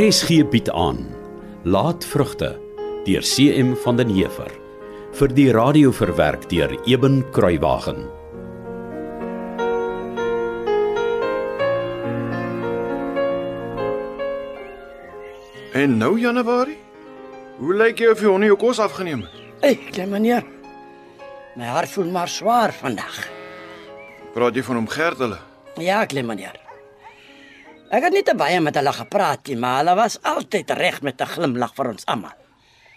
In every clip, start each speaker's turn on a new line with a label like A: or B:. A: RSG bied aan Laatvrugte deur CM van den Heever vir die radio verwerk deur Eben Kruiwagen.
B: En nou Januarie? Hoe lyk jy of jy hondie jou kos afgeneem het?
C: Hey, klein meneer. My hart voel maar swaar vandag.
B: Praat jy van hom Gert hulle?
C: Ja, klein meneer. Ek het nie te baie met hulle gepraat nie, maar hulle was altyd reg met 'n glimlag vir ons almal.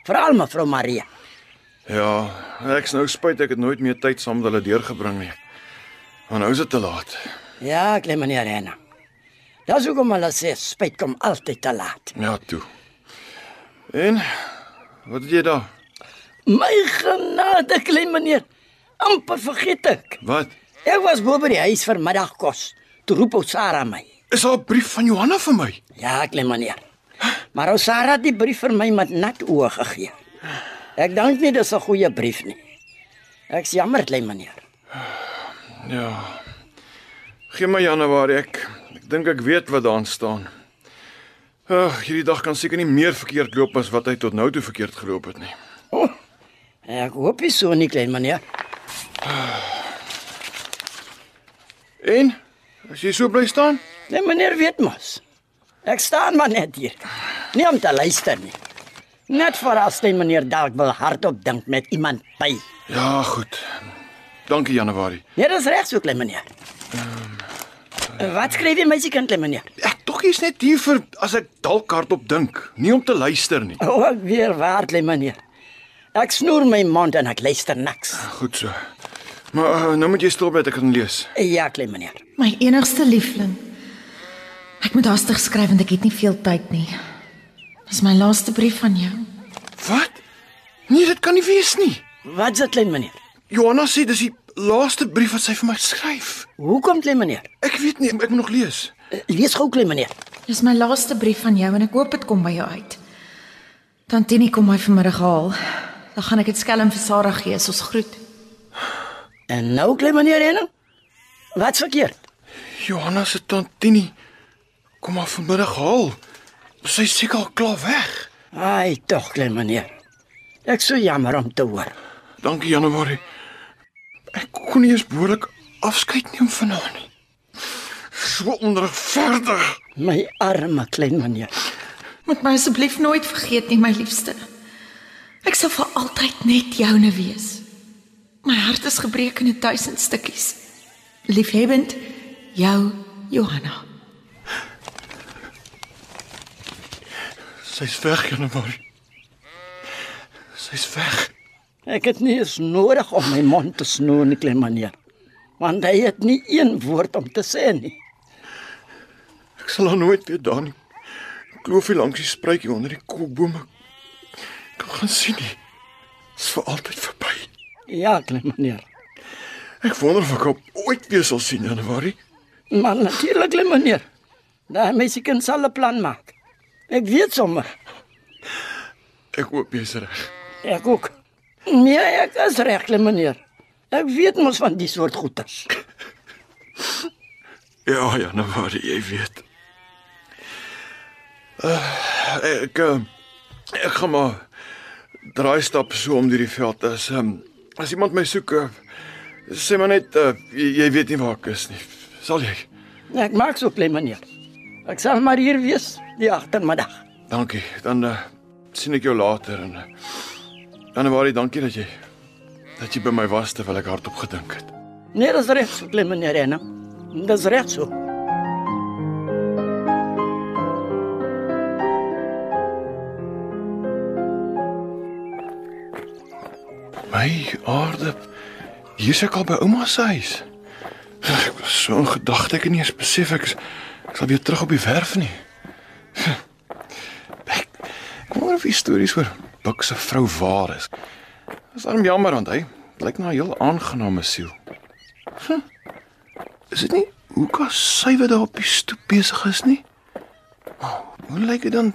C: Veral mevrou Maria.
B: Ja, ek's nou spyt ek het nooit meer tyd saam met hulle deurgebring nie. Maar nou is dit te laat.
C: Ja, klein meneer Rena. Dis hoekom hulle sê spyt kom altyd te laat.
B: Ja, toe. En wat het jy daar?
C: My genade, klein meneer. amper vergeet ek.
B: Wat?
C: Ek was bo by die huis vir middagkos. Toe roep ou Sarah my.
B: Is daar 'n brief van Johanna vir my?
C: Ja, klein meneer. Maar ou Sarah het die brief vir my met nat oë gegee. Ek dink nie dis 'n goeie brief nie. Ek's jammer, klein meneer.
B: Ja. Geen my Januarie ek. Ek dink ek weet wat daarin staan. Ag, hierdie dag kan seker nie meer verkeerd loop as wat hy tot nou toe verkeerd geloop het nie.
C: Ek hoop nie so nie, klein ja. meneer.
B: En as jy so bly staan?
C: Klein meneer weet mos. Ek staan maar net hier. Nie om te luister nie. Net vir as klein meneer dalk wil hardop dink met iemand by.
B: Ja, goed. Dankie Januarie.
C: Nee, dis reg so, klein meneer. Wat skryf jy meisiekind, klein meneer?
B: Ek dokkie is net hier vir as ek dalk hardop dink, nie om te luister nie.
C: O, ek weer waar, klein meneer. Ek snoer my mond en ek luister niks.
B: Goed so. Maar uh, nou moet jy stil bly dat ek kan lees.
C: Ja, klein meneer.
D: My enigste liefling. Ek moet haastig skryf want ek het nie veel tyd nie. Dis my laaste brief van jou.
B: Wat? Nee, dit kan nie wees nie.
C: Wat is dit, klein meneer?
B: Johanna sê dis die laaste brief wat sy vir my skryf.
C: Hoekom klein meneer?
B: Ek weet nie, ek moet nog lees.
C: Eh, Lees gou klein meneer.
D: Dis my laaste brief van jou en ek hoop dit kom by jou uit. Tantini kom my vanmiddag haal. Dan gaan ek dit skelm vir Sarah gee as ons groet.
C: En nou klein meneer en Wat verkeerd?
B: Johanna se tantini kom haar vanmiddag haal. Sy is seker al klaar weg.
C: Ai, tog klein meneer. Ek sou jammer om te hoor.
B: Dankie Januarie. Ek kon nie eens behoorlik afskeid neem van haar nie. So onregverdig.
C: My arme klein meneer.
D: Moet my asseblief nooit vergeet nie, my liefste. Ek sal vir altyd net joune wees. My hart is gebreek in 1000 stukkies. Liefhebbend, jou Johanna.
B: Sy's weg, Januarie. Sy's weg.
C: Ek het nie eens nodig om my mond te snoer nie klein meneer. Want hy het nie een woord om te sê nie.
B: Ek sal haar nooit weer daar nie. Kloofie langs die spruitjie onder die koelbome. Ek Kan gaan sien nie. Dis vir altyd verby.
C: Ja, klein meneer.
B: Ek wonder of ek haar ooit weer sal sien, Januarie.
C: Maar natuurlik klein meneer. Daai meisiekind sal 'n plan maak. Ek weet sommer.
B: Ek hoop jy's reg.
C: Ek ook. Nee, ek is reg, klein meneer. Ek weet mos van die soort goeters.
B: Ja, Januarie, jy weet. Uh, ek eh, ek gaan maar draai stap so om hierdie veld as um, as iemand my soek, uh, sê maar net uh, jy, jy weet nie waar ek is nie. Sal jy?
C: Ek maak so klein meneer. Ek sal maar hier wees die agtermiddag.
B: Dankie. Dan uh, sien ek jou later en eh, Januarie, dankie dat jy dat jy by my was terwyl ek hardop gedink het.
C: Nee, dis reg so klein meneer Rena. Dis reg so.
B: My aarde. Hier's ek al by ouma se huis. Ek was so in gedagte ek het nie eens besef ek is- ek sal weer terug op die werf nie. Hm. Ek ek wonder of die stories oor Buck se vrou waar is. Dis arm jammer want hy lyk na 'n heel aangename siel. Hm. Is dit nie hoe kan sy wat daar op die stoep besig is nie? Hoe lyk dit dan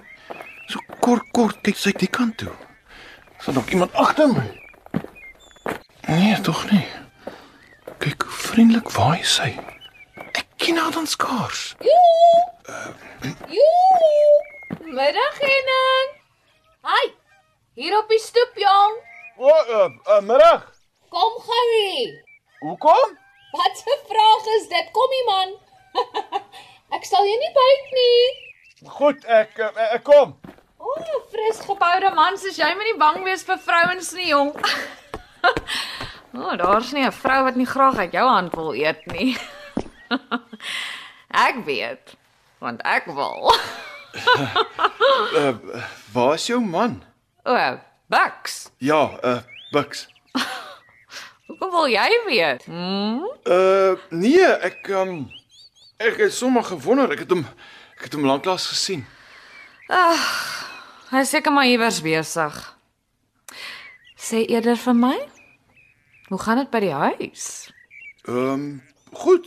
B: so kort kort kyk sy die kant toe? Is daar nog iemand agter my? Nee, tog nie. Kyk hoe vriendelik waai sy. Ek ken haar dan skaars. Uh,
E: Middag Henning. Hi. Hier op die stoep jong.
F: O, uh, uh, middag.
E: Kom gou hier.
F: Hoekom?
E: Wat 'n vraag is dit? Kom hier man. ek sal jou nie byt nie.
F: Goed, ek uh, ek kom.
E: O, oh, fris geboude man, soos jy moenie bang wees vir vrouens nie jong. O, oh, daar's nie 'n vrou wat nie graag uit jou hand wil eet nie. ek weet, want ek wil.
B: Waar is jou man?
E: O, oh, Bucks.
B: Ja, uh Bux.
E: Hoekom wil jy weet? Hmm?
B: Uh nee, ek um ek het sommer gewonder. Ek het hom ek het hom lanklaas gesien.
E: Hy is seker maar iewers besig. Sê eerder vir my. Hoe gaan dit by die huis?
B: Um goed.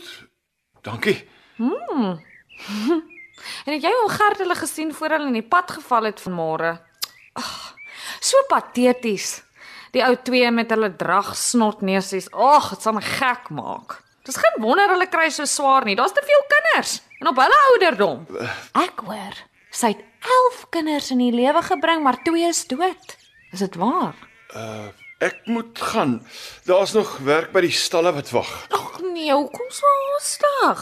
B: Dankie.
E: En het jy hom gerd hulle gesien voor hulle in die pad geval het vanmôre? Ag, so pateties. Die ou twee met hulle dragsnotneusies. Ag, dit sal my gek maak. Dis geen wonder hulle kry so swaar nie. Daar's te veel kinders en op hulle ouderdom. Ek hoor, sy het 11 kinders in die lewe gebring, maar twee is dood. Is dit waar?
B: Uh ek moet gaan. Daar's nog werk by die stalle wat wag.
E: Ag nee, hoekom so haastig?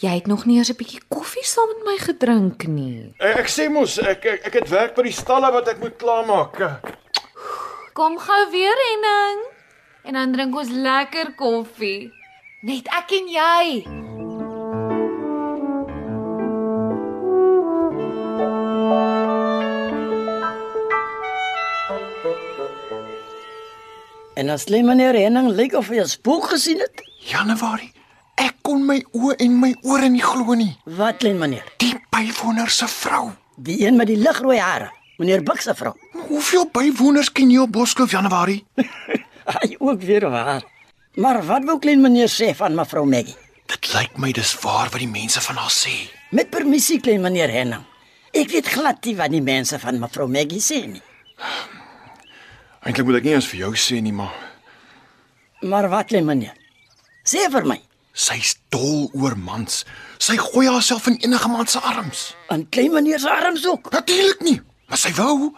E: Jy het nog nie eens 'n bietjie koffie saam met my gedrink nie.
F: Ek, ek sê mos ek, ek ek het werk by die stalle wat ek moet klaarmaak.
E: Kom gou weer, Henning. En dan drink ons lekker koffie. Net ek en jy.
C: En as lê meneer Henning lyk of hy 'n spook gesien het.
B: Januarie. Ek kon my oë en my ore nie glo nie.
C: Wat lê meneer?
B: Die bywoner se vrou.
C: Die een met die ligrooi hare. Meneer Bucks se vrou.
B: Hoeveel bywoners ken jy op Boskloof Januarie?
C: Hy ook weer waar. Maar wat wou klein meneer sê van mevrou Maggie?
B: Dit lyk my dis waar wat die mense van haar sê.
C: Met permissie klein meneer Henning. Ek weet glad nie wat die mense van mevrou Maggie sê nie.
B: Eintlik moet ek nie eens vir jou sê nie, maar
C: Maar wat lê meneer? Sê vir my.
B: sy's dol oor mans. Sy gooi haarself in enige man se arms.
C: En klein meneer se arms ook.
B: Natuurlik nie, maar sy wou.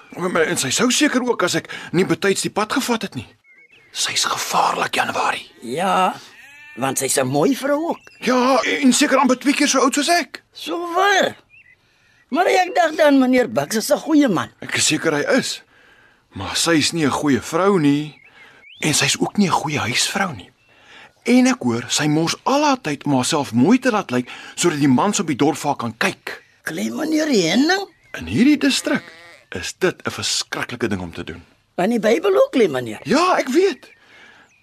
B: En sy sou seker ook as ek nie betyds die pad gevat het nie. Sy's gevaarlik, Januarie.
C: Ja, want sy's 'n mooi vrou ook.
B: Ja, en seker amper twee keer so oud soos ek.
C: So waar. Maar ek dink dan meneer Bucks is 'n goeie man.
B: Ek is seker hy is. Maar sy is nie 'n goeie vrou nie en sy's ook nie 'n goeie huisvrou nie. En ek hoor sy mors al haar tyd om haarself mooi te laat lyk sodat die mans op die dorp vir haar kan kyk.
C: Klein meneer Henning,
B: In hierdie distrik is dit 'n verskriklike ding om te doen.
C: in die Bybel ook klein meneer.
B: Ja, ek weet.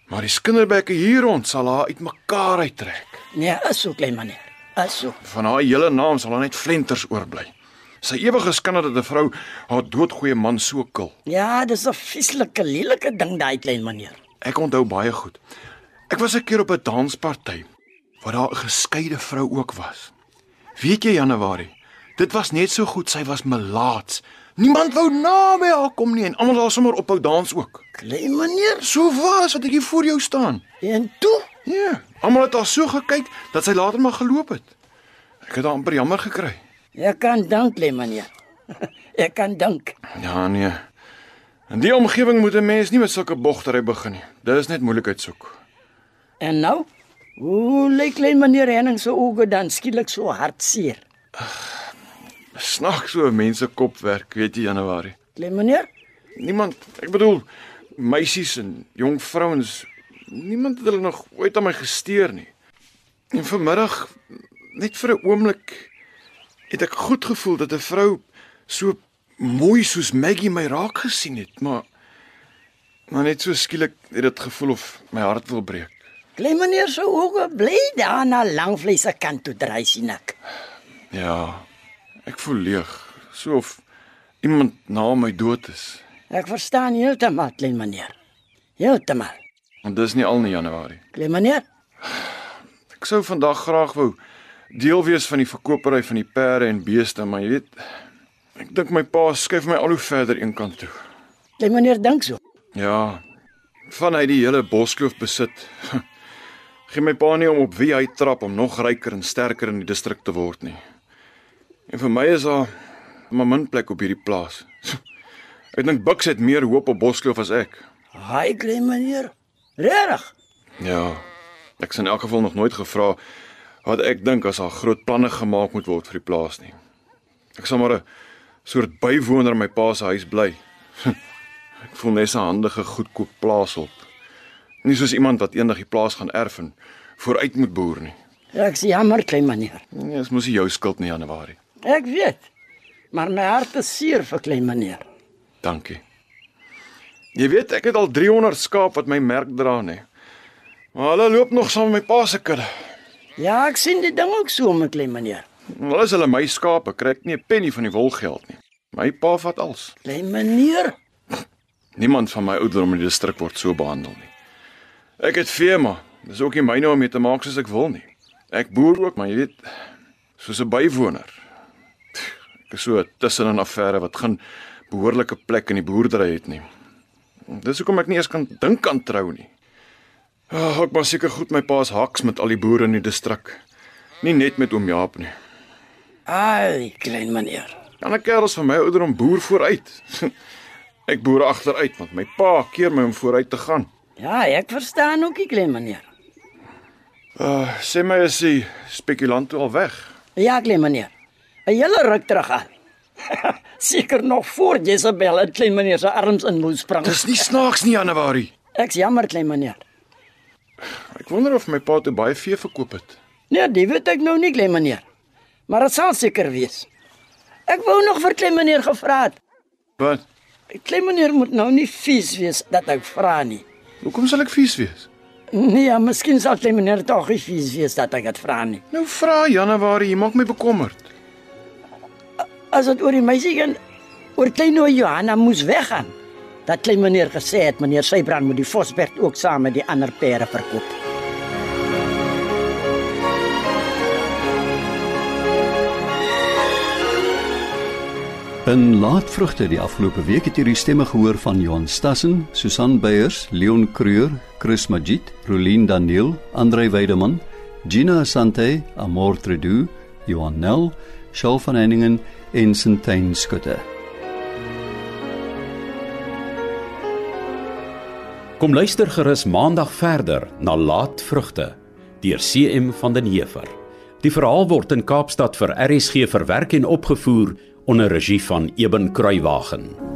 B: Maar die skinderbekke hier rond sal haar uitmekaar uittrek.
C: Nee, is so klein meneer. Is so.
B: Van haar hele naam sal haar net flenters oorbly. Sy ewige skinder dat 'n vrou haar doodgoeie man so kil.
C: Ja, dis 'n vieslike lelike ding daai klein meneer.
B: Ek onthou baie goed. Ek was 'n keer op 'n dansparty waar daar 'n geskeide vrou ook was. Weet jy Januarie, dit was net so goed sy was melaats. Niemand wou naby haar kom nie en almal daar sommer ophou dans ook. Nee,
C: Klein meneer.
B: So was wat ek hier voor jou staan.
C: En toe,
B: Ja, yeah, almal het haar so gekyk dat sy later maar geloop het. Ek het haar amper jammer gekry.
C: ek kan dank klein meneer. ek kan dank.
B: Ja nee. In die omgewing moet 'n mens nie met sulke bogtery begin nie. Dit is net moeilikheid soek.
C: En nou, hoe lyk klein meneer Henning se oë dan skielik so hartseer?
B: Snaaks so 'n mens se kop werk, weet jy Januarie.
C: Klein meneer,
B: Niemand, ek bedoel meisies en jong vrouens, niemand het hulle nog ooit aan my gesteer nie. En vanmiddag net vir 'n oomblik het ek goed gevoel dat 'n vrou so mooi soos Maggie my raak gesien het, maar maar net so skielik het dit gevoel of my hart wil breek.
C: klein meneer se oë bly daar na langvleis se kant toe draai sien ek.
B: Ja. Ek voel leeg, so of iemand na my dood is.
C: Ek verstaan heeltemal klein meneer. Heeltemal.
B: En dis nie al nie Januarie.
C: Klein meneer,
B: Ek sou vandag graag wou deel wees van die verkopery van die perde en beeste, maar jy weet, ek dink my pa skuif my al hoe verder een kant toe.
C: klein meneer dink so.
B: Ja. Van hy die hele Boskloof besit. Geen my pa nie om op wie hy trap om nog ryker en sterker in die distrik te word nie. En vir my is daar maar min plek op hierdie plaas. Ek dink Bucks het meer hoop op Boskloof as ek.
C: Haai klein meneer. Regtig?
B: Ja. Ek is in elk geval nog nooit gevra wat ek dink as haar groot planne gemaak moet word vir die plaas nie. Ek sal maar 'n soort bywoner in my pa se huis bly. ek voel net 'n handige goedkoop plaas op. Nie soos iemand wat eendag die plaas gaan erf en vooruit moet boer nie.
C: Ek sê jammer klein meneer.
B: Nee, dis mos nie jou skuld nie, Januarie.
C: Ek weet. Maar my hart is seer vir klein meneer.
B: Dankie. Jy weet, ek het al 300 skaap wat my merk dra nê. Maar hulle loop nog saam met my pa se kudde.
C: Ja, ek sien die ding ook so my klein meneer.
B: En Al is hulle my skape, kry ek nie 'n penny van die wolgeld nie. My pa vat alles.
C: Klein meneer.
B: Niemand van my ouderdom in die distrik word so behandel nie. Ek het vee maar, dis ook nie myne om mee te maak soos ek wil nie. Ek boer ook, maar jy weet, soos 'n bywoner. Ek is so tussen 'n affære wat geen behoorlike plek in die boerdery het nie. Dis hoekom ek nie eens kan dink aan trou nie. Ag, ek was seker goed my pa's haks met al die boere in die distrik. Nie net met oom Jaap nie.
C: Ai, klein meneer.
B: Ander kerels van my ouderdom boer vooruit. ek boer agteruit want my pa keer my om vooruit te gaan.
C: Ja, ek verstaan ook die klein meneer.
B: Uh, sê my is die spekulant al weg.
C: Ja, klein meneer. 'n Hele ruk terug aan. Seker nog voor Jezebel in klein meneer se arms in moes spring.
B: Dis nie snaaks nie, Januarie.
C: Ek's jammer klein meneer.
B: Ek wonder of my pa toe baie vee verkoop het.
C: Nee, dit weet ek nou nie klein meneer. Maar dit sal seker wees. Ek wou nog vir klein meneer gevra het.
B: Wat?
C: Klein meneer moet nou nie vies wees dat ek vra nie.
B: Hoekom sal ek vies wees?
C: Nee, ja, miskien sal klein meneer tog nie vies wees dat ek dit vra nie.
B: Nou vra Januarie, jy maak my bekommerd.
C: As dit oor die meisie gaan oor klein oor Johanna moes weggaan. Dat klein meneer gesê het meneer Sybrand moet die Vosberg ook saam met die ander pere verkoop.
G: In laatvrugte die afgelope week het hierdie stemme gehoor van Johan Stassen, Susan Beyers, Leon Creur, Chris Magid, Rolien Daniel, Andrei Weideman, Gina Sante, Amor Tredu, Johan Nel, Shaul van Heiningen en Sintyn Skutte.
A: Kom luister gerus Maandag verder na Laatvrugte deur CM van den Heever. Die verhaal word in Kaapstad vir RSG verwerk en opgevoer onder regie van Eben Kruiwagen.